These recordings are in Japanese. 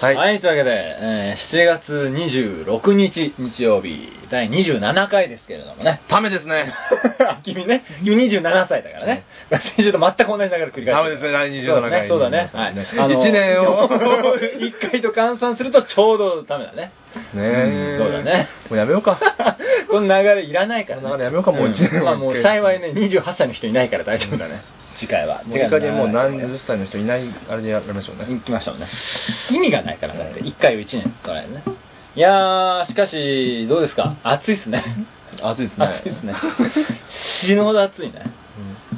はいはい、というわけで、えー7月26日日曜日、第27回ですけれどもね。 ダメですね。あ君ね、君27歳だからね。先週と全く同じ流れ繰り返してるダメですね第27回そうだね。そうだね。 27はいあの一年を 一回と換算するとちょうどダメだね。ねえ、うんそうだね。もうやめようか。 この流れいらないから、ね。この流れやめようかもう一年んまあもう幸いね、28歳の人いないから大丈夫だね。次回は。もう次いい回加減もう長い何十歳の人いない、あれでやりましょうね。行きましたもんね。意味がないから、だって。1回を1年取られるね。いやー、しかし、どうですか暑いっすね。暑いですね。暑いっすね。死ぬほど暑いね。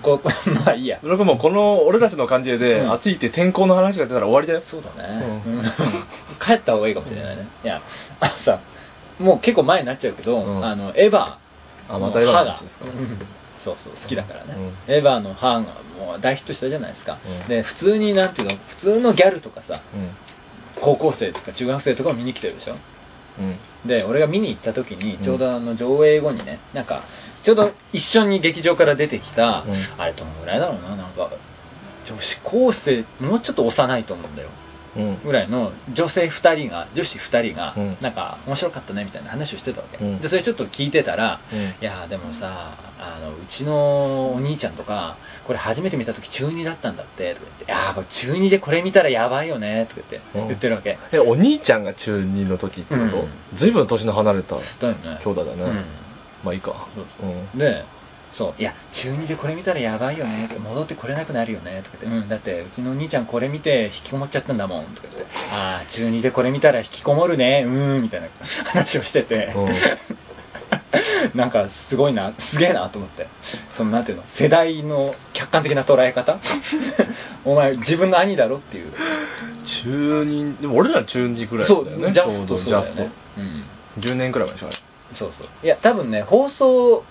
ここ まあいいやうん。。僕もこの俺たちの関係で、うん暑いって天候の話が出たら終わりだよ。そうだね、うんうん帰った方がいいかもしれないね、いやあのさもう結構前になっちゃうけど、うんあのエヴァあまたエヴァの歯が話ですかうんそうそう好きだからね、うエヴァの歯がもう大ヒットしたじゃないですか、うんで普通になんていうの普通のギャルとかさう高校生とか中学生とかを見に来てるでしょん。うん。で俺が見に行った時にんちょうどあの上映後にねなんかちょうど一緒に劇場から出てきた、うんあれどのぐらいだろうななんか女子高生もうちょっと幼いと思うんだようんぐらいの女性2人が女子2人が、うんなんか面白かったねみたいな話をしてたわけ、うんでそれちょっと聞いてたら、うんいやーでもさあのうちのお兄ちゃんとかこれ初めて見た時中2だったんだってとか言って「いやーこれ中2でこれ見たらやばいよね」とか言ってうん言ってるわけ、え、お兄ちゃんが中2の時ってこうんとずいぶん年の離れただよね兄弟だね。うんまあいいか。そうう。そうんでそういや中2でこれ見たらやばいよねとか戻ってこれなくなるよねとか言って、うん、だってうちのお兄ちゃんこれ見て引きこもっちゃったんだもんとか言ってああ中2でこれ見たら引きこもるねうーんみたいな 話をしててうん なんかすごいなすげえなと思ってそのなんていうの世代の客観的な捉え方 お前自分の兄だろっていう、中2、でも俺ら中2くらいだそよね。うジャストそうちょどだジよャスね、うん、ト。10年くらい前でしょ、あれ。そうそういや多分ね放送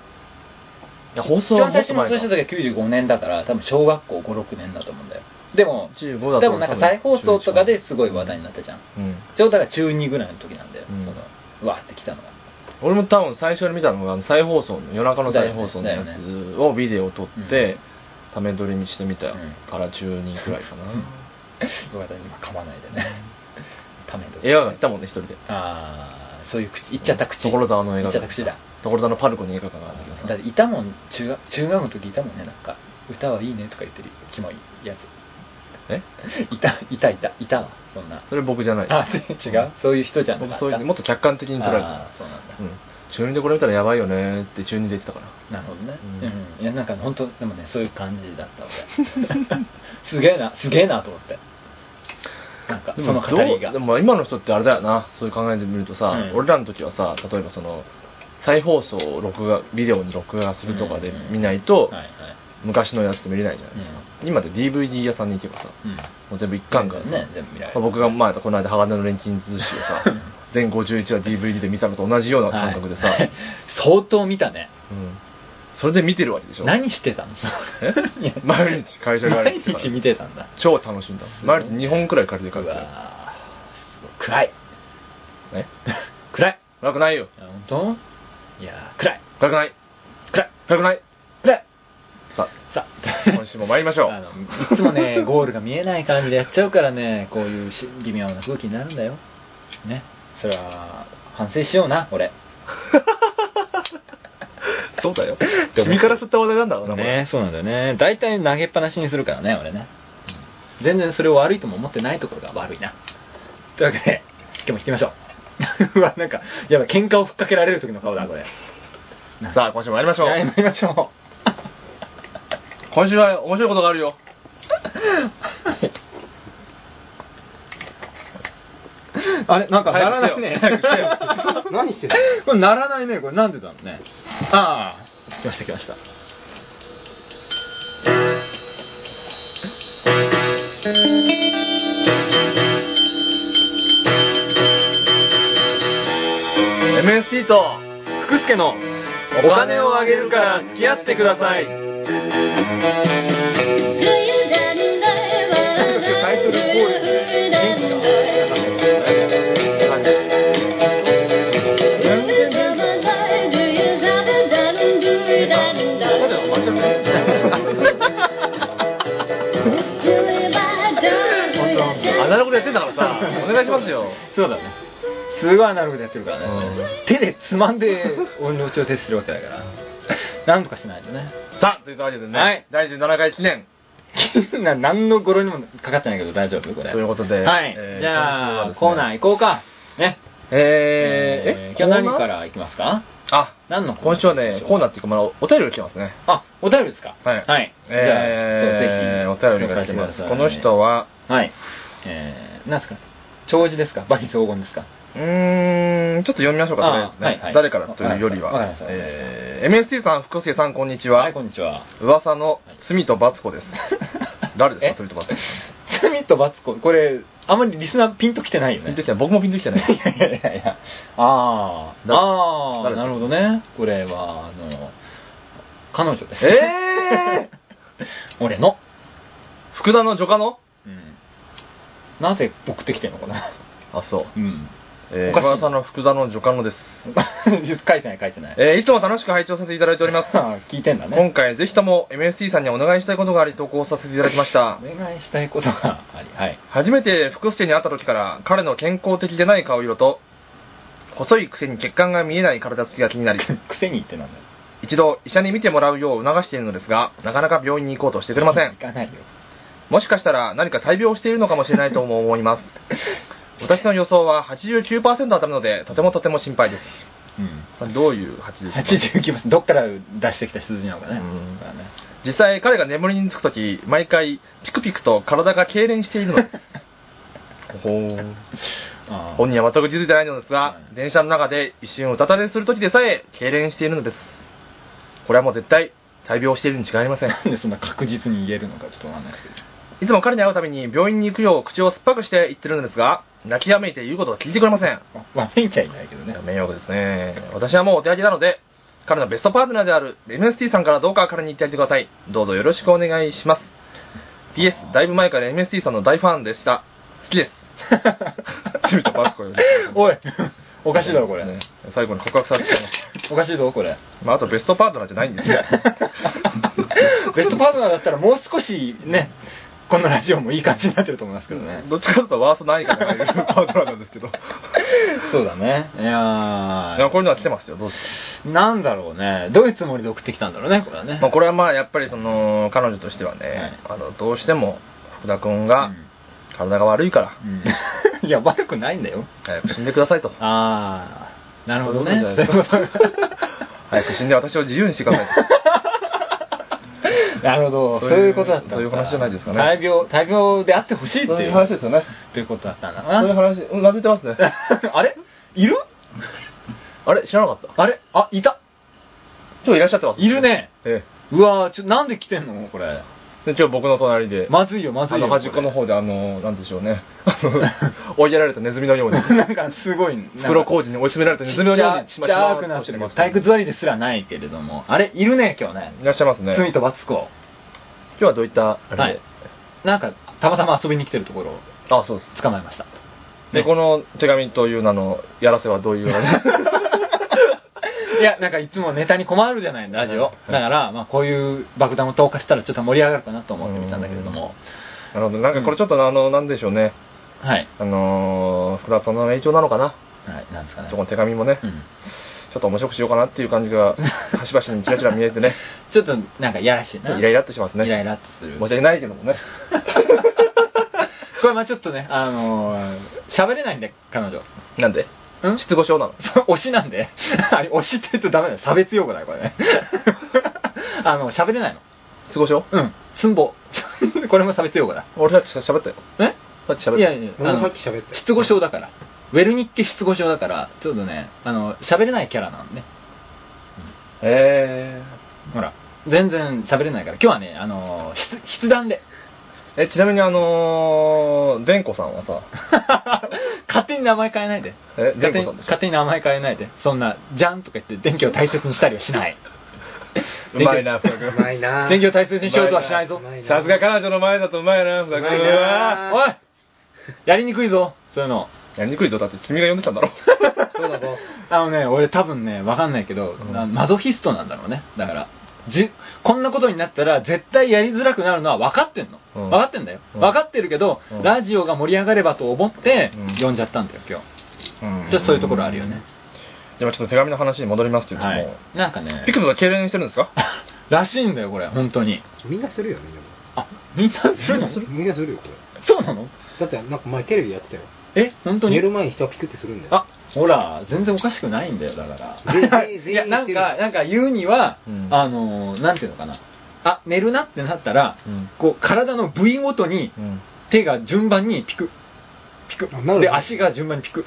いや放一送は番も最初っとに放前送した時は95年だから多分小学校56年だと思うんだよでも15だと思うでもなんか再放送とかですごい話題になったじゃんうん、ちょうどだから中2ぐらいの時なんだよ、うんそのうわーってきたのが 俺も多分最初に見たのがあの再放送の夜中の再放送のだよやねつをビデオを撮って、ため撮りにしてみたうんから中2くらいかな、よかった今噛まないでねためと映画館行ったもんね一人でああそういう口言っちゃった口所沢の言映画っちゃ館った口だ所沢のパルコに映画館があるけどさだっていたもん中学中学の時いたもんねなんか歌はいいねとか言ってるキモいやつ えいたいたいたいたわそんなそれ僕じゃないあ違うそういう人じゃなか僕ったそういうもっと客観的に捉えるあーそうなんだ、うん、中2でこれ見たらやばいよねって中2で言ってたからなるほどね、ううんんいやなんか本当でもねそういう感じだった俺 すげえなすげえなと思ってなんかその語りでもどがうでも今の人ってあれだよなそういう考えで見るとさ、うん俺らの時はさ例えばその再放送を録画ビデオに録画するとかで見ないと、はいはい昔のやつって見れないじゃないですか、今って DVD 屋さんに行けばさうんもう全部一巻からさ、ね全部見られるまあ僕が前この間鋼の錬金通信をさ 全51話 DVD で見たのと同じような感覚でさ、はい 相当見たねうん、それで見てるわけでしょ何してたのえ いや毎日会社帰り毎とか日見てたんだ超楽しんだ毎日2本くらい借りてう帰ってわーすごい暗いえ暗い暗くないよいや本当いやー暗い暗くない暗い暗くない暗いささあ今週も参りましょあのういつも ね、ゴールが見えない感じでやっちゃうからね、こういうし微妙な空気になるんだよ。ね。それは、反省しような、俺。 そうだよ君から振った話題なんだからなこれね、そうなんだよね。大体投げっぱなしにするからね、俺ね。全然それを悪いとも思ってないところが悪いな。というわけで、今日も弾きましょう。う わ、なんか、やばい、喧嘩をふっかけられる時の顔だ、これ。さあ今週も参りましょうはい、参りましょ今週は面白いことがあるよう。あれ、なんか鳴らないね。早くしてよ早くしてよ何してるこれ鳴らないね、これ。なんでだろうね。ああ。来ました、来ました。 MST と福助のお金をあげるから付き合ってくださいタイトルコール元気があナログでやってんだからさお願いしますよそうだねすごいアナログでやってるからね、うん手でつまんで音量調整するわけだからなんとかしないとね さあというわけでね、はい第17回記念な何の頃にもかかってないけど大丈夫これということではい、えーじ今週ゃはあ、ですねコーナー行こうかねえー、え今日何かからら行きますかあ何のコーナー今週はねコーナーっていうかまあおお便りが来てますねあお便りですかはいじゃあちょっとえぜひーお便りが来てま紹介してくだすさいこの人ははいえー、なんですか長寿ですかバリ荘厳ですかうーんちょっと読みましょうかとりあえずあね、はいはい誰からというよりはわかりましたわかりましたえー MST さん福助さんこんにちは、はいこんにちは噂の罪と罰子です、誰ですかえ罪と 罰子さ罪と罰子これあんまりリスナーピンときてないよんねピンときた僕もピンときた ねいやいやいやあーだあ誰ーですなるほどねこれはあの彼女ですえー 俺の、福田の助家のなぜ送ってきてんのかなあそううんえー、おかしい岡田さんの福田の助官のです。 書いてない書いてないえーいつも楽しく拝聴させていただいております。あ聞いてんだね今回ぜひとも MST さんにお願いしたいことがあり投稿させていただきました。お願いしたいことがありはい初めて福助に会った時から彼の健康的でない顔色と、細いくせに血管が見えない体つきが気 になり、癖に言ってなんだよ一度医者に診てもらうよう促しているのですが、なかなか病院に行こうとしてくれません行。かないよもしかしたら何か大病をしているのかもしれないとも思います。私の予想は89%当たるので、とてもとても心配です。うんどういう89%? 89番どっから出してきた数字なのかね,、うんだか らね実際彼が眠りにつくとき毎回ピクピクと体が痙攣しているのです ほほうあ本人は全く気づいてないのですが、うん電車の中で一瞬うたたれするときでさえ痙攣しているのですこれはもう絶対大病をしているに違いありま せんなんでそんな確実に言えるのかちょっとわかんないですけどいつも彼に会うたびに病院に行くよう口を酸っぱくして言ってるのですが泣きやめいて言うことを聞いてくれませんわ悪いんちゃいないけどね迷惑ですね私はもうお手上げなので彼のベストパートナーである MST さんからどうか彼に言ってあげてくださいどうぞよろしくお願いします PS だいぶ前から MST さんの大ファンでした好きです趣味とバスコより おいおかしいだろこれ、ね最後に告白されてしまいましおかしいぞこ れた、まあ、あとベストパートナーじゃないんです よベストパートナーだったらもう少しねこのラジオもいい感じになってると思いますけどねどっちかというとワーストないかなというパートナーなんですけど そうだねいいややこういうのは来てますよどうですーなんだろうねどういうつもりで送ってきたんだろうねこれはねか、まあ、これはまあやっぱりその彼女としてはね、あのどうしても福田君がうん体が悪いから、うん いや悪くないんだよ早く死んでくださいとああなるほどねそういうことじゃないですか 早く死んで私を自由にしてくださいとなるほどそういうそういうことだったんだそういう話じゃないですかね大病大病であってほしいってそういいうう話ですよねということだったんだそういうな話うんなずいてますね あれいるあれ知らなかった今あれあいた日いらっしゃってますいるねえうわーちょなんで来てんのこれえで今日僕の隣で、まずいよまずあいよの端っこの方であのなんでしょうね あの追いやられたネズミのよ うになんかすごいなんか袋小路に追い詰められたネちズっミのちようゃにちっちゃくなってもう体育座りですらないけれどもあれいるね今日ねいらっしゃいますね罪今と罰子日はどういったあれで、はいなんかたまたま遊びに来てるところをあそうです捕まえましたで、この手紙という名のやらせはどういう あれいやなんかいつもネタに困るじゃないラジオだからまあこういう爆弾を投下したらちょっと盛り上がるかなと思ってみたんだけれどもなるほどなんかこれちょっとあのなんでしょうねはいあのー、福田さんの影響なのかなはいなんですかねそこの手紙もね、うんちょっと面白くしようかなっていう感 じが、端々にちらちら見えてね、ちょっとなんかいやらしいなイライラっとしますね。イライラっとする申し訳ないけども ね。これまあちょっとねあのー喋れないんで彼女なんでん失語症なのそう推しなんで あれ推しって言うとダメだよ差別用語だよこれね あの喋れないの失語症うんつんぼ これも差別用語だ俺さっき喋ったよ。えさっき喋った。いやいや俺もあのさっき喋ったよ失語症だからウェルニッケ失語症だからちょっとねあの喋れないキャラなんでねえほら全然喋れないから今日はねあの筆筆談でー、え、ちなみにあのー、でんこさんはさ、 勝手に名前変えないでえ勝手電に子さんでしょ勝手に名前変えないでそんな「じゃん」とか言って電気を大切にしたりはしないうまいな、福田うまい君。な電気を大切にしようとはしないぞうまいなさすが彼女の前だとうまいな、福田君。うまいなおいやりにくいぞそういうのやりにくいぞ、だって君が呼んでたんだろ。そうだぞあのね俺多分ねわかんないけど、うんなマゾヒストなんだろうねだからじこんなことになったら絶対やりづらくなるのは分かってんの、うん分かってんだよ、うん分かってるけど、うんラジオが盛り上がればと思ってうん読んじゃったんだよ今日うんじゃあそういうところあるよね、でもちょっと手紙の話に戻りますけども、はいなんかねピクトが痙攣してるんですか らしいんだよこれ本当にみんなするよねあみんなするのでもみんなするよこれそうなのだってなんか前テレビやってたよえ本当に寝る前に人はピクってするんだよあほら全然おかしくないんだよだか全ら員 いやなん全員かしてなんか言うには、うんあのーなんていうのかなあ寝るなってなったら、うんこう体の部位ごとに、うん手が順番にピクピクあなるほどで足が順番にピク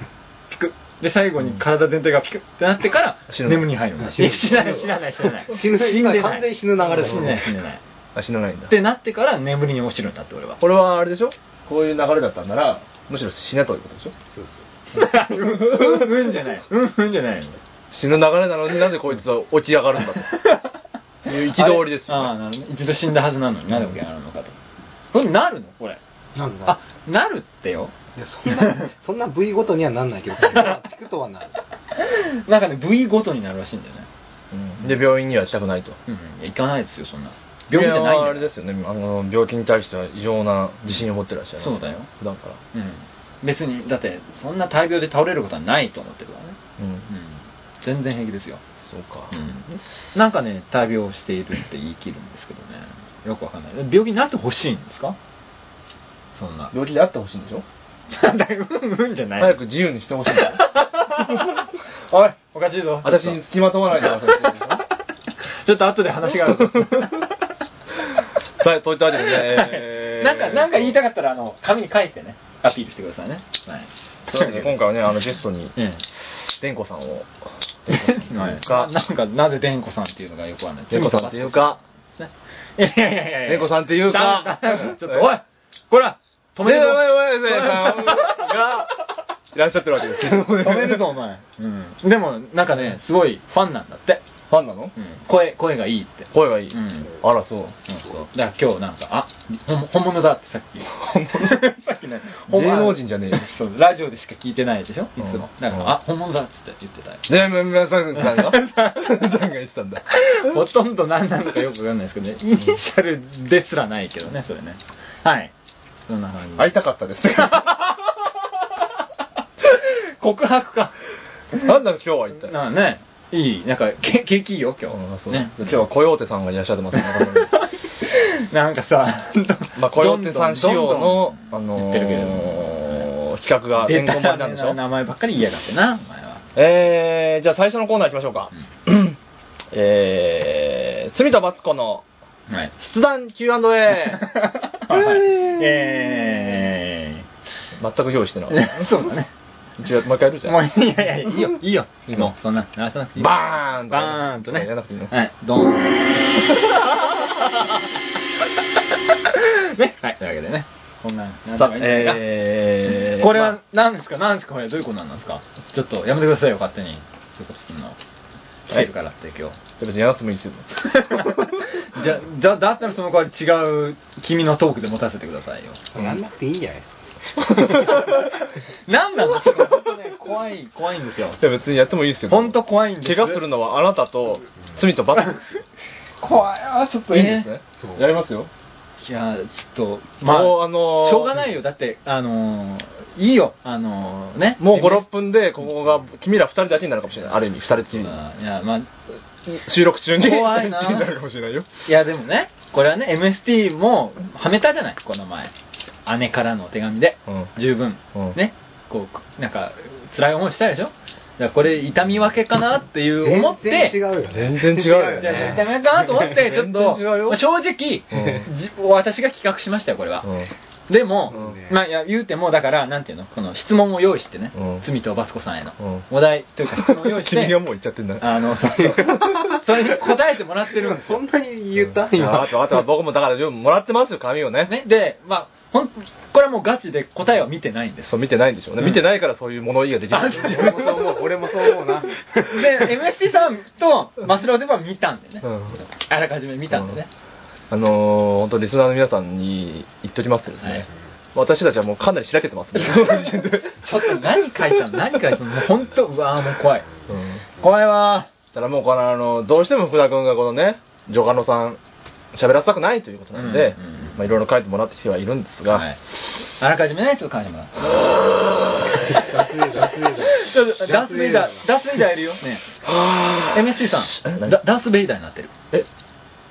ピクで最後に体全体がピクってなってから死ぬ眠りに入るのあ死ぬいや死なない死なない死なない死ぬ死んでない完全に死ぬ流れだ死んでない死んでないあ死なないんだってなってから眠りに落ちるんだって俺はこれはあれでしょこういう流れだったんならむしろ死ねということでしょそうそうんうんじゃないうんうんじゃないの死ぬ流れなのになぜこいつは起き上 がるんだという憤りですよあれあーなるほどね一度死んだはずなのになぜ起き上がるのかとこれなるのこれうなんだあなるってよいやそんな そんな部位ごとにはなんないけどピクとはなるなんかね部位ごとになるらしいんだよねうんで病院には行きたくないとうんいや行かないですよそんな病気じゃないんこれはだあれよですよねあの病気に対しては異常な自信を持ってらっしゃるそうだよ普段からうん、別にだってそんな大病で倒れることはないと思ってるからね、うん、うん、全然平気ですよ、そうか、うん、なんかね大病しているって言い切るんですけどねよくわかんない病気になってほしいんですかそんな病気であってほしいんでしょなんだようんうんじゃない早く自由にしてほしいんだよおいおかしいぞ私に付きまとわないでくださいってことでしょちょっと後で話があるぞさあ、といったわけでね、えーなんかなんか言いたかったらあの紙に書いてねアピールしてくださいねはいというわけで今回はね、あの、ゲストに、ええでんこさんを、はいかなんかなぜでんこさんっていうのがよくわかんないでんこさんっていうか、いやいやいやいや。でんこさんっていうかだだちょっと、おいこら止めるぞねおいおいおいさんが、いらっしゃってるわけですけどもね止めるぞ、お前。うん。でも、なんかね、すごいファンなんだって。ファンなのうん。声、声がいいって。声がいい。うんあら、そう。うん、そう。だから今日なんか、あ、ほん本物だってさっき。本物 さっきね、芸能人じゃねえよそう、ラジオでしか聞いてないでしょいつも。うんだかうんら、あ、本物だっつって言ってたよ。ね、むむさんさんが、さんが言ってたんだ。 ほとんど何なのかよくわかんないですけどね。イニシャルですらないけどね、それね。はい。そんな感じ。会いたかったです。告白か。 なんだ今日は一体。なあね、いい、なんか、け景気いいよ、今うん日。そうね、今日は小ヨーテさんがいらっしゃってますね頭 なに。んかさ、 まあ、小ヨーテさん仕様の、あどんどんの言ってるけれどもー、企画がて出んたこ盛りなんでしょ名前ばっかり言いやがってな、お前は。えー、じゃあ最初のコーナー行きましょ うか。えー、罪と罰子の はい。筆談 Q&A。 え 全く用意してない。ー。そうだね。一応、もう一回やるじゃん。もういやいやいや、いいよ、 いいよ。いいのもうそんな、鳴らさなくていい。バーンとバーンとね。やらなくていいのはい、ド ン。ね、はい、というわけでね。こんな、なんとさかあ、いいんじゃないかえー、これはま何ですか何ですかこれどういうことなんですかちょっとやめてくださいよ勝手にそういうことすんの来てるからって今日 あ、別にやらなくてもいいですよ。じゃじゃだったらその代わり違う君のトークで持たせてください よやんなくていいんじゃないですか何なんですか本当ね怖い怖いんですよいや、別にやってもいいですよ。本当怖いんです怪我するのはあなたと、罪と罰子ですよ。怖いあちょっといいですねそう。やりますよ。いやちょっとままああ、もう、あのーしょうがないよだってあのー、いいよあのー、ねもう5、ろ6分で、ここが、君ら2人だけになるかもしれない。ある意味、2人きり。いやまあ収録中に。怖いな気になるかもしれないよ。いやでもね、これはね、MST もはめたじゃない、この前。姉からのお手紙で。うん十分、うんね。こう、なんか、辛い思いしたでしょだからこれ、痛み分けかなっていう思って、全然違うよね全然違うよねじゃあ痛み分けかなと思って、ちょっ全と、然違うよまあ正直、うじ私が企画しましたよ、これは。でも、うんまあいや言うても、だから、なんていうの、この質問を用意してね、うん罪とバツ子さんへの、うお題というか質問を用意して、君がもう言っちゃってんだ。 あの、そうそう。それに答えてもらってるんですよそ。んなに言ったああ と、あと、僕もだから、もらってますよ、紙をね。ね、で、まあ、ほん、これはもうガチで答えは見てないんです。そう、見てないんでしょうね。うん見てないからそういう物言いができるんでしょうね。俺もそう思う俺もそう思うなで、MST さんとマスラオでは見たんでね。うんあらかじめ見たんでね。 あのー、本当リスナーの皆さんに言っときますとですね、はい私たちはもうかなりしらけてますね。うちょっと何書いたの何書いたのもうほんと、うわーもう怖い。ん怖いわただもうこの、あの、どうしても福田君がこのね、ー。ジョガノさん、喋らせたくないということなんで、うんうんうんまあいろいろ書いてもらってきてはいるんですが、はい。あらかじめね、ちょっと書いてもらう。脱衣脱衣ダース・ベイダー、ダース・ベイダーいるよ。ね。MST さえん、何ダダース・ベイダーになってる。え、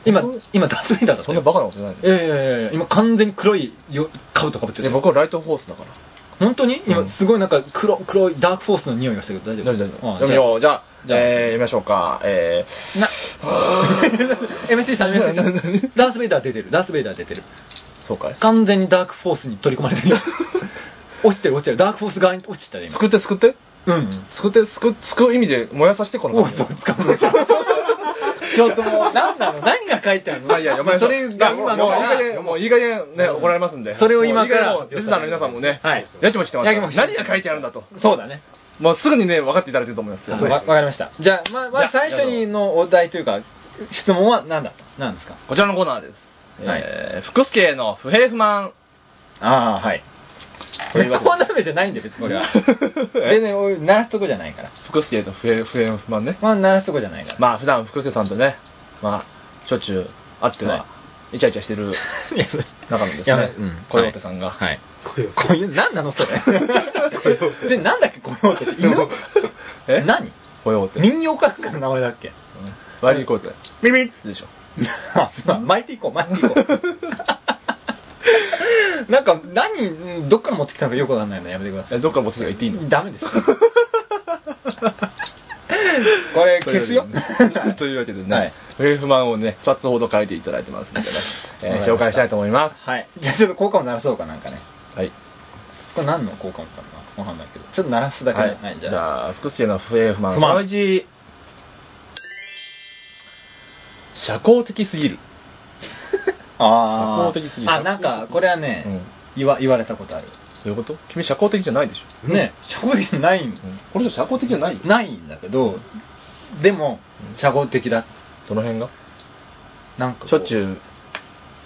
今、今、ダース・ベイダーだったそよんなバカなことじゃないいやいやいやいや、今完全に黒いよ兜かぶってでる。僕はライトホースだから。本当にうん今、すごいなんか黒、黒いダークフォースの匂いがしてるけど大丈大夫丈夫あ読みよう。じゃあ、じゃあえー、読みましょうか。えー、な、MST さん、MST さん、ダース・ベイダー出てる、ダース・ベイダー出てる。そうかい。完全にダークフォースに取り込まれて る。落ちてる、落ちてる。ダークフォース側に落ちてたね、すくってすくって今。うん。すくってすく、すくう意味で燃やさせて、このフォー感スじを使うの、ちょっと。ちょっともう、何なの何が書いてあるのまあいいや、読まないそれが今のもういいが加減、もういい加減ね、怒られますんで。それを今からもういい加減もうリスナーの皆さんもね、はいやきもきしてますかやきら。もきしてま何すが書いてあるんだと。そうだね。もうすぐにね、分かっていただけると思いますよ。わわかりました。じゃあ、まあ、まあ、じゃあ最初にのお題というか、質問は何だ何ですかこちらのコーナーです。はいえー、福助への不平不満。ああ、はい。というわけでコーナー名じゃないんだよ、別にこれは。 えでね、おい鳴らすとこじゃないから。福助への不平不平不満ね。まあ、鳴らすとこじゃないから。まあ、普段福助さんとね、まあ、しょっちゅう会ってはは、イチャイチャし てるいや中野ですやばいねうん。小手さんが。はい。これをこういう、なんなのそれ。で、なんだっけ、この音って。犬え何小用手。民謡かなんかの名前だっけ悪い小手。ビビッでしょ。 あ、すまん。巻いていこう、巻いていこ う。なんか、何、うんどっから持ってきたのかよくわかんないのでやめてくださえい。どっから持ってきたか言っていいのダメ です。これ消すよ。 というわけではねい、不平不満をね、2つほど書いていただいてますんでね、えー わかりました紹介したいと思います。はい。じゃあちょっと効果音鳴らそうかなんかね。はい。これ何の効果音かなわかんないけど。ちょっと鳴らすだけはで。いはい、じじゃあ。ゃあ、福祉への不平不満、不そ満の1、社交的すぎる。あ社交的すぎるあ、なんか、これはね、うん言わ、言われたことある。どういうこと君社交的じゃないでしょ。ね、社交的じゃないん、うんこの人社交的じゃないよ。ないんだけど、でも、社交的だ。どの辺がなんかこう。しょっちゅう、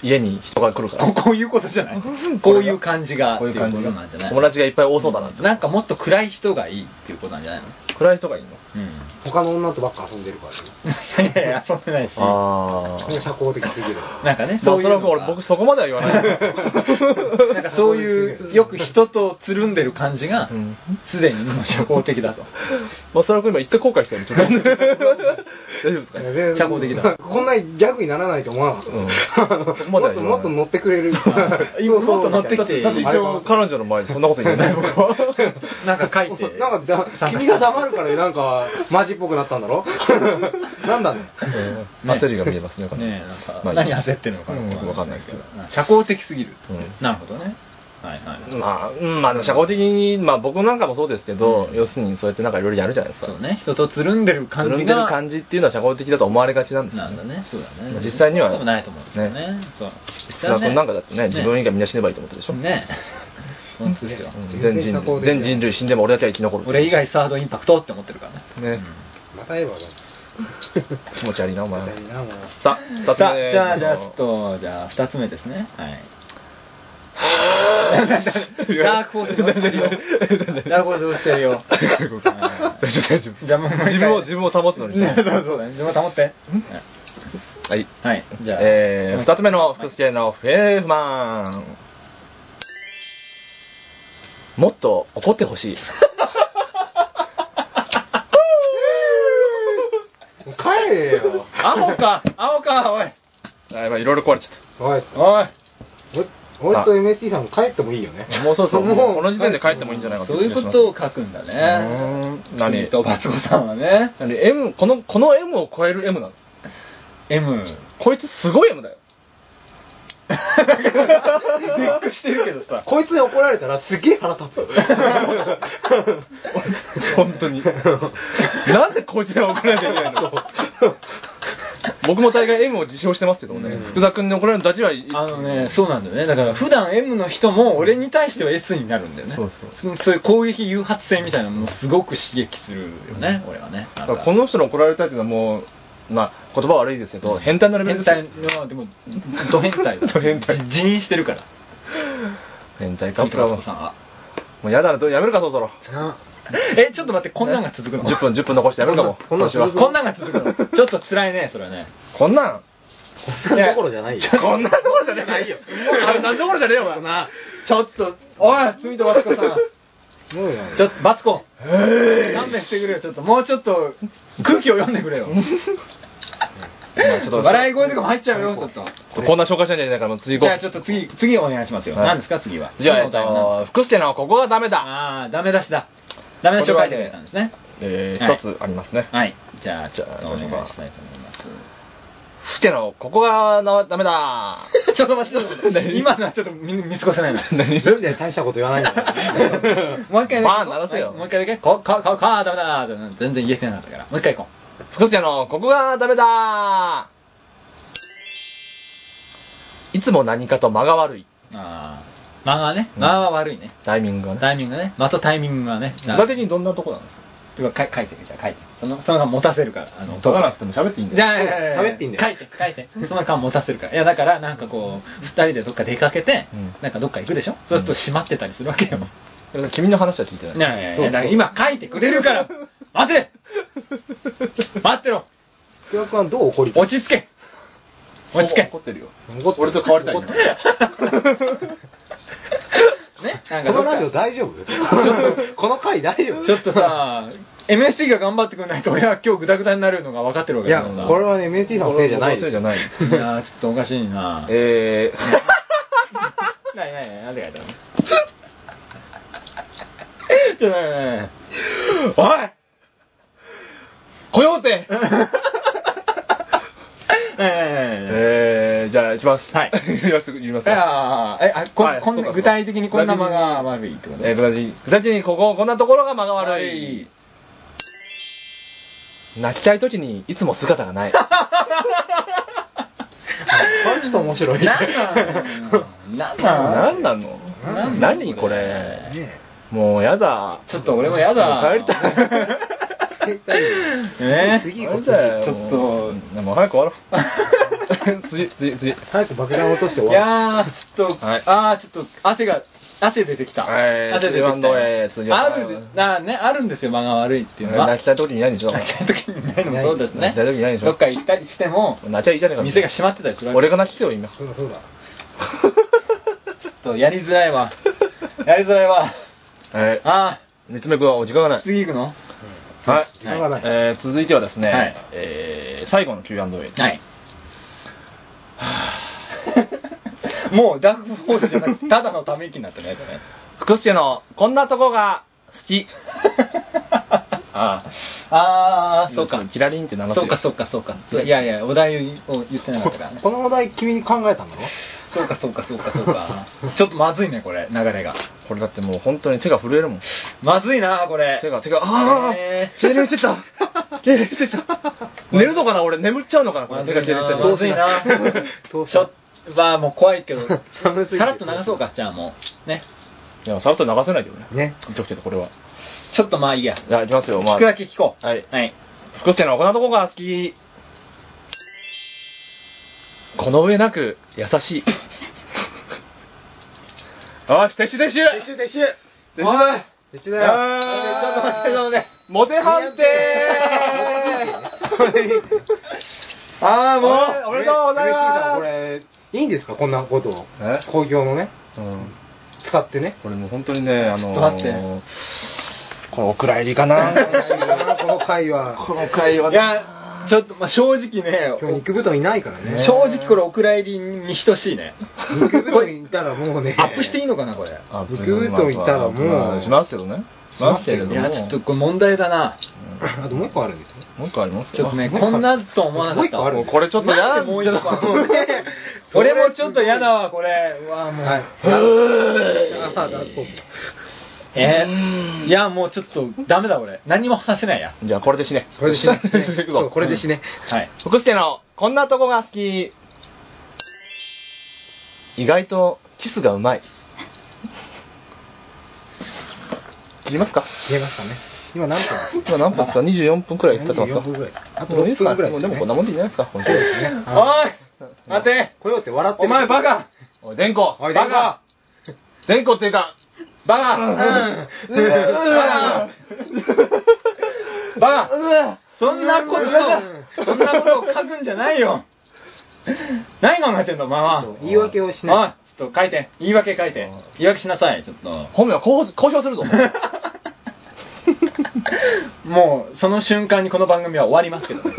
家に人が来るから。ここういうことじゃないこういう感じがこういう感じってがことなんじゃない友達がいっぱい多そうだなって。なんかもっと暗い人がいいっていうことなんじゃないの暗い人がいいのうん他の女とばっか遊んでるからね。いやいや遊んでないしなあこれが社交的すぎる。んかねそそうういそうれのはが俺僕そこまでは言 わない。なんかそういうよく人とつるんでる感じがうんすでにもう社交的だとまあ、それは今言って後悔して る。ちょっと大丈夫ですかいやね。全然社交的だこんなギャグにならないと思わなかった。うんそこまで もは言わっともなっとい乗ってくれる。今もっと乗ってきてだって一応彼女の前でそんなこと言えない 僕は。なんか書いて なんかだ参加君したが黙るからなんかマジっぽくなったんだろ なんだねうん焦りが見えますね。ねえなんかまあいい何焦ってるのかうんよくわかんないですけど社交的すぎるうんなるほどねはいはいまあ、うんまあでも社交的に、まあ僕なんかもそうですけど、うん要するにそうやってなんかいろいろやるじゃないですかそ。うね人とつるんでるつ感るじんでがる感じっていうのは社交的だと思われがちなんですよなんだね。そうだね。実際にはそうでもないと思うんですよね。そう。実福田君なんかだってね、自分以外みんな死ねばいいと思ったでしょ。ね。本当ですよ。うん全全然人社交類的じゃ全ない人類死んでも俺だけは生き残る。俺以外サードインパクトって思ってるからね。ね、またエヴァだ気持ち悪いな、お前ま。たいいなもうさあ、二つさ目あ、じゃあ、じゃあ、ちょっと、じゃあ、二つ目ですね。はい。ダークフォースに落ちてるよ。ダークフォースに落ちてるよ。大丈夫大丈夫じゃあもう一回自分を自分を保つのにね そうそうだね。自分は保って。はいはい。じゃあ、えー、2つ目の福助の不平不満もっと怒って ほしいもう帰れよ青か青かおいあやばいいろいろ壊れちゃっおいおい俺俺と MST さんも帰ってもいいよねたもうそろそろもうもうこの時点で帰ってもいいんじゃないかそとういいうう気こがしますとを書くんだね。うーん何とバツコさんはね。何 M このこの M を超える M なの M。こいつすごい M だよびっくしてるけどさ。こいつに怒られたらすげえ腹立つ本当 になんでこいつが怒らなきゃいけないの僕も大概 M を自称してますけどもね、福田君に怒られるのだけはいあのね、そうなんだよね。だから普段 M の人も俺に対しては S になるんだよね。そうそうそそういう攻撃誘発性みたいなのもすごく刺激するよね、俺はね。だからこの人に怒られたいっていうのはもう、まあ、言葉悪いですけど、変態のレベル変ですよ態の、でも、ド変態だ。 ド変態じ辞任してるから。変態か、次プとラマツもコさんは。うやだな、どうやめるか、そろそろ。なえ、ちょっと待って、こんなんが続くの10分、10分残してやめるかも。こんなん今年はこんなこんなんが続くのちょっと辛いね、それはね。こんなん、こんなところじゃないよ。こんなところじゃねえないよこんなところじゃねえよ、お前。ちょっと、おい、罪とマツコさん。そうよちょっと、マツコ。勘弁してくれよ、ちょっと。もうちょっと、空気を読んでくれよ。ちょっと笑い声とかも入っちゃうよ、ちょっと。そうこんな紹介したんじゃねえから、もう次行じこゃあう。ちょっと次、次お願いしますよ。はい何ですか、次は。じゃあ、え次のっお題は何ですかと、福助のここがダメだ。ああ、ダメ出しだ。ダメ出しを書いてくれたんですね。えーはい一つありますね。はい。じゃあ、ちょっじとゃあお願いしたいと思います。福助のここがなダメだ。ちょっと待って、ちょっと待って。 今のはちょっと見見過ごせ ないな。なんで大したこと言わないんだよ。もう一回バーン鳴らせよはいもう一回だけ。こ、こ、こ、こ、ダメだー全然言えてなかったから。もう一回行こう。福助のここがダメだ。いつも何かと間が悪い。ああ。間がね、うん間は悪いね。タイミングがね。タイミングね。間とタイミングがね。具体的にどんなとこなんですかてか、か書いてみじゃあ書いて。その、その間持たせるから。あの、解かなくても喋っていいんだじよ。ゃあ、いやいやいや喋っていいんだよ書いて、書いて。その間持たせるから。いや、だから、なんかこう、二人でどっか出かけてうん、なんかどっか行くでしょそうすると閉まってたりするわけよ。でも君の話は聞いてない。いやいやいそうや、だから今書いてくれるから待て待ってろ福田君はどう怒りたい落ち着け落ち着け怒ってるよ。怒って俺と変わりたい怒ってねなんこかどのっかラジオ大丈夫この回大丈夫ちょっとさ、MST が頑張ってくれないと俺は今日グダグダになるのが分かってるわいけだやからさ。、これはね、MST さんのせいじゃない俺のせいじですゃよ。ない。いやーちょっとおかしいなぁ。えー。ないないない、なんで書い てあるのちょっとないない おいコヨーテない。 えー、じゃあ、行きます。はい 言います言いますいよ。やーえ、あ、こはいん、こ、そうかそうんか具体的にこんな間が悪いってことえー、具体的に、具体的にここ、こんなところが間が悪い。泣きたいときにいつも姿がない。これちょっと面白い。なんなんなんななんんなのなんなの何ここれれねもうやだ。ちょっと俺もやだもう帰りたい。絶対え次なんだよちょっともうもう早く終わろ う。次、次、次。早く爆弾落としてい終わやー、ちょっと、はいあー、ちょっと、汗が、汗出てきた。はい汗出て次ワンきドウェイ次た。ワンあドウェイるで、あーね、あるんですよ、間が悪いっていうのは。泣きたいときに何しろ。泣きたい時にないのもそうですね。泣きたい時にないでしょどっか行ったりしても、泣きゃいいじゃねえか。店が閉まってたりするわけ俺が泣きてよ、今。そうだそうだ。 ちょっとやりづらいわ。やりづらいわ。はい。あ三つ目くんはお時間がなー、い。次行くのはい。時間がない。えー続いてはですね、はいえー最後の Q&A です。はい。 もう、ダークホースじゃなくて、ただのため息になってない とね。福助のこんなとこが好き。ああ、ああ、そうか。キラリンって流すよそうか、そうか、そうか。そういやいや、お題を言ってなかったから。このお題君に考えたのそうか、そうか、そうか、そうか。 ちょっとまずいね、これ、流れが。これだってもう本当に手が震えるもん。まずいな、これ。手が、手が、あえー、痙攣してた。痙攣してた。 寝るのかな俺、眠っちゃうのかなこれ、手が痙攣してた。まずいな。 どうしちょっと、まあ、もう怖いけど、寒すぎてさらっと流そうか、じゃあもう。ね。いや、さらっと流せないけどね。ね。言っとくけど、これは。ちょっとまあいいや。じゃあ、いきますよ。まあ聞く、だけ聞こう。はいはい。福助のこんなとこが好き。この上なく、優 しい。あー、撤収撤収撤収撤収撤収おい別だよ。ちょっと待って、ちょっと待って。モテ判定ああ、もうおめでとうございますこれ、いいんですかこんなことを。え工業のね、うん、使ってね。これもう本当にね、あのー、ちょっと待ってこれお蔵入り かな この回は。この会話いや、ちょっと、まあ正直ね、今日肉布団いないからね。正直これお蔵入りに等しいね。肉布団いたらもうね。アップしていいのかな、これ。いあ、ブクーといたらもうまあしますけどね。しますけれども。や、ちょっとこれ問題だな。あともう一個あるんですよ。もう一個ありますちょっとね、もう一こんなと思わなかったわ。ももうこれちょっとなやんでもう一個あるの俺もちょっと嫌だわ、これ。うわ、もう。はい。あ あ、そうえーいや、もうちょっとダメだ、俺。何も話せないや。じゃあこれで死ね。これで死ねちょっと行くぞ そうこれで死ね。はい。福助のこんなとこが好き意外とキスがうまい切りますか見えますかね。今何分今何分ですか24分くらいいったってますか24分くらいああとともういいですか6分くらいもでうすでねもこんなもんでいいんじゃないですか本当そうにですね。あおい待てこよって笑っておる前バカおい電光おい、ババカカ電光っていうかバカうんうんバカバカそんなこと、そんなことを書くんじゃないよ何考えてんのまあそう言い訳をしないおちょっと書いて言い訳書いてうん言い訳しなさいちょっと本名は公公表 するぞ。 もうその瞬間にこの番組は終わりますけどね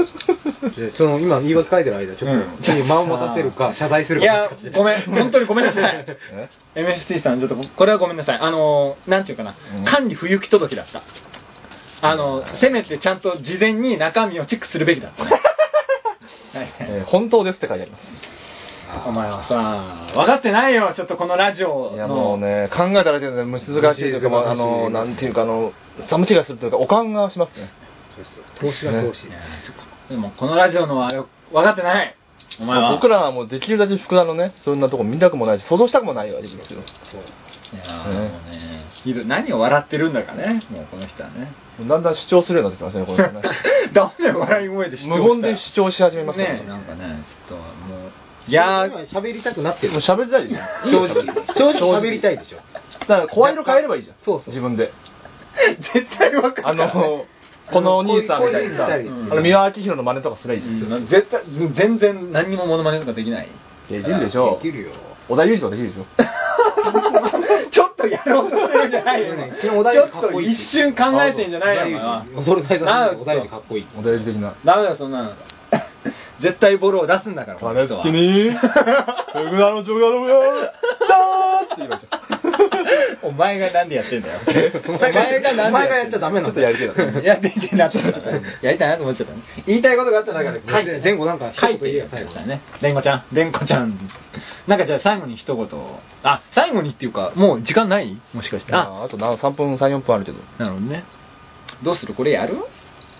でその今言い訳書いてる間ちょっうんと次に間を持たせる か謝罪するいかどっやちかしてごめん本当にごめんなさ いえ MST さんちょっとこれはごめんなさいあのーなんていうかな、うん管理不行き届きだったあのーせめてちゃんと事前に中身をチェックするべきだった ねはいえー本当ですって書いてあります。お前はさ分かってないよちょっとこのラジオのいやもうね、考えたら全然難しいというか、まあ、あの、難なしいんていうか、あの、寒気がするというか、おかんがしますね。投資が投資いやちょっとでもこのラジオのあれ分かってないお前は僕らはもうできるだけ福田のね、そんなとこ見たくもないし、想像したくもないわけですよ。そういやーもうねひどい何を笑ってるんだかねもうこの人はね だんだん主張するようになってきましたね、 これね。ダメだよ笑い声で主張した無言で主張し始めましたねねなんかねちょっともういや今ー喋りたくなってるもう喋りたいでし正ょ。直正直喋りたいでしょだから、声色変えればいいじゃん。そうそう自分で。 絶対分かあるからねの、このお兄さんみたいにこさ、うあいう風にしたりの、三輪明宏の真似とかすればいいですよ。うん絶対全然何にもモノマネとかできない できるでしょ。できるよ小田裕二とかできるでし ょ。ちょっとやろうとしてるんじゃないよね今ち昨日ょお題っがかっとこいい一瞬考えてんじゃないよお前は踊る大さんのお大あ事かっこいい小田裕二的な。ダメだよそんなの 絶対ボロを出すんだからこの金人は付きに、 福田のジョガロよ、ダーって言いました。お前がなんでやってんだよ。お前がなんでお前がやっちゃダメなのちょっとやりてえだろいやっていけなと思っちゃった。やりたいなと思っちゃったね。言いたいことがあった中で、書いて。前後なんか一書言い言てえよや最後だね。でんこちゃん。でんこちゃん。なんかじゃあ最後に一言。あ、最後にっていうか、もう時間ないもしかして。あ、ああとな3分34分あるけどなるほどね。どうするこれやる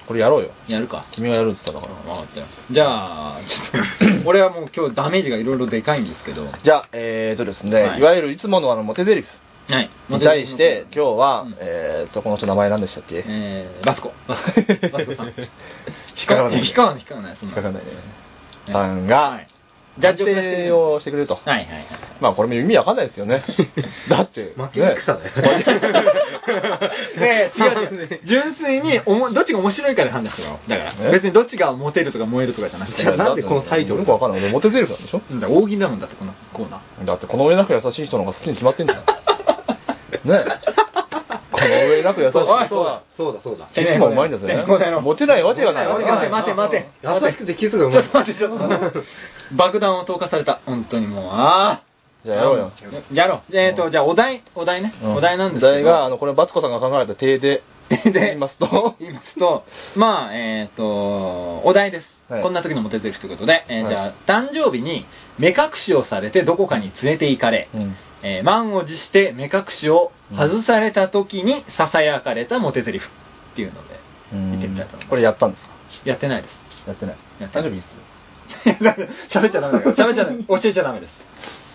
これやろうよやるか。君がやるって言ったんだから分かったよじゃあ、ちょっと、俺はもう今日ダメージがいろいろでかいんですけど。はじゃあえーとですね、、はいいわゆるいつものあのモテゼリフい。に対して今日は、うんえーとこの人名前何でしたっけ、えー、バツコ。バツコバツコさん。 引っかからない引っかからない、引っかからない、そん引っな。かからないねさんが、はいジャッジを下してくれ定るをしてくれると、はいはいはい。まあこれも意味わかんないですよねだって負け戦だよ ねえ、違う違う。 純粋におも、どっちが面白いかで判断してもらおう。だから、え別にどっちがモテるとか燃えるとかじゃなくて。じゃあなんでこのタイトルよくわかんない俺モテゼリフなんでしょなんだ、大喜利だもんだって、このコーナー。だってこの上なく優しい人の方が好きに決まってんじゃんねえこの上なく優しい人おいそうはだそうだそうだキスもうまいんだぜねこれねこれねモテないわけがないモテないわけがない待て待て優しくてキスがうちょまいっと待って、ちょっと待って。爆弾を投下された。本当にもう、ああ。じゃあやろうよやろう。えっと、じゃあお題、お題ね。うんお題なんですおけ題が、あど。、の、これ、バツコさんが考えた手で、言いますと言いますと、まあ、えっと、お題です。はいこんな時のモテゼリフということで、えーはいじゃあ、誕生日に目隠しをされてどこかに連れて行かれ、うんえー満を持して目隠しを外された時にささやかれたモテゼリフっていうので 見てみたいと思いますこれやったんですかやってないです やってない。やってな大い丈夫いつ喋っちゃダメだよ喋っちゃダメ教えちゃダメです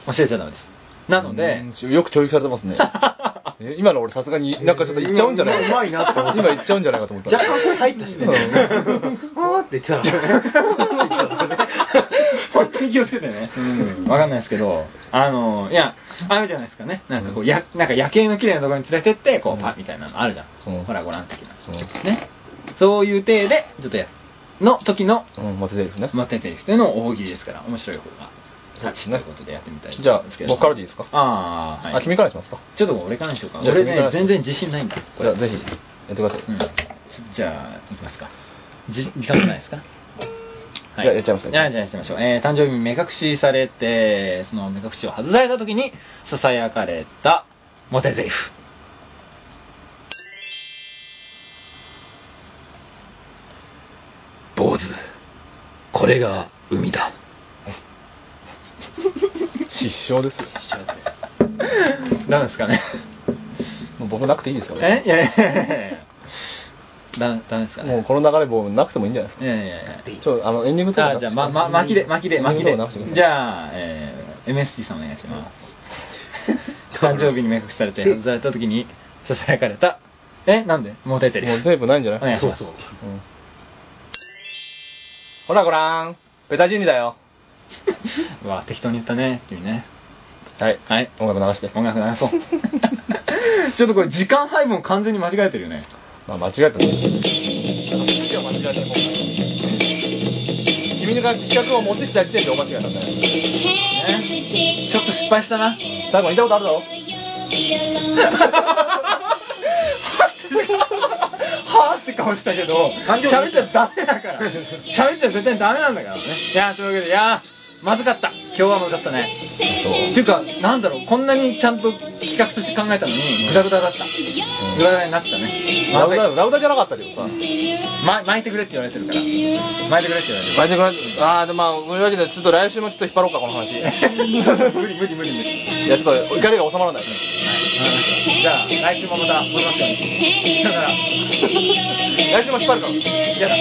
教えちゃダメですなのでうんよく教育されてま すね。え今の俺さすがに、 なんかちょっと言っちゃうんじゃないか今うまいなって思った今言っちゃうんじゃないかと思った。若干声入ったし ねあーっ て言ってた本当に気をつけてね、うん、わかんないですけどあのいやあるじゃないですかねなんかこうやなんか夜景の綺麗なところに連れてってこうパッみたいなのあるじゃん、うんほらご覧的な、うんねそういう体でちょっとやるの時のうん、モテゼリフね。詰まっててる人への大喜利ですから面白い方がそう勝でちすとねいうことでやってみたいじゃあ、僕からでいいいですかああ、はい、あ、君からにしますかちょっと俺からにしようかじゃあ俺君かねら全然自信ないんだよこじゃれあ、ぜひ、やってください。うんじゃあいきますかじ時間もないですかじゃあやっちゃいますよじゃあじゃあやっちゃいましょう、えー、誕生日に目隠しされてその目隠しを外された時にささやかれたモテゼリフ坊主これが海 だ失笑ですよ。なんですかねもう僕なくていいですよ。えいやいやいやいやだダメですかねもうこの流れ、もうなくてもいいんじゃないですいかやいやいやちょ、あの、エンディングとかあなくじしゃあ、てま、ま、巻きで、巻きで、巻きでなくしてくださ。いじゃあ、えー、MST さんお願いし ます。誕生日に目隠しされて、外された時に、ささやかれた。え、なんでモテてる。もうテープないんじゃおない願いします。そううんほらごらん。ベタジーニだよ。うわ、適当に言ったね、君ね。はい。はい。音楽流して。音楽流そう。 ちょっとこれ、時間配分完全に間違えてるよね。まあ、間違えたね。間違えた方が君が企画を持ってきた時点でお間違いだったね。ちょっと失敗したな。最後にいたことあるだろはぁって顔したけど、喋っちゃダメだから。 喋っちゃ絶対ダメなんだからね。いやー、というわけで、いやー、まずかった。今日はまずかったね。っていうか、なんだろう、こんなにちゃんと企画として考えたのに、グダグダだった。グダグダになったね。ラウダ、ラウダじゃなかったけどさ。ま、巻いてくれって言われてるから。巻いてくれって言われてる。マジでごめんあーでまあ、というわけで、ちょっと来週もちょっと引っ張ろうか、この話。い無理無理無理無理。や、ちょっと怒りが収まらないね。じゃあ、来週もまた戻りますように。だから、来週も引っ張るから。嫌だ。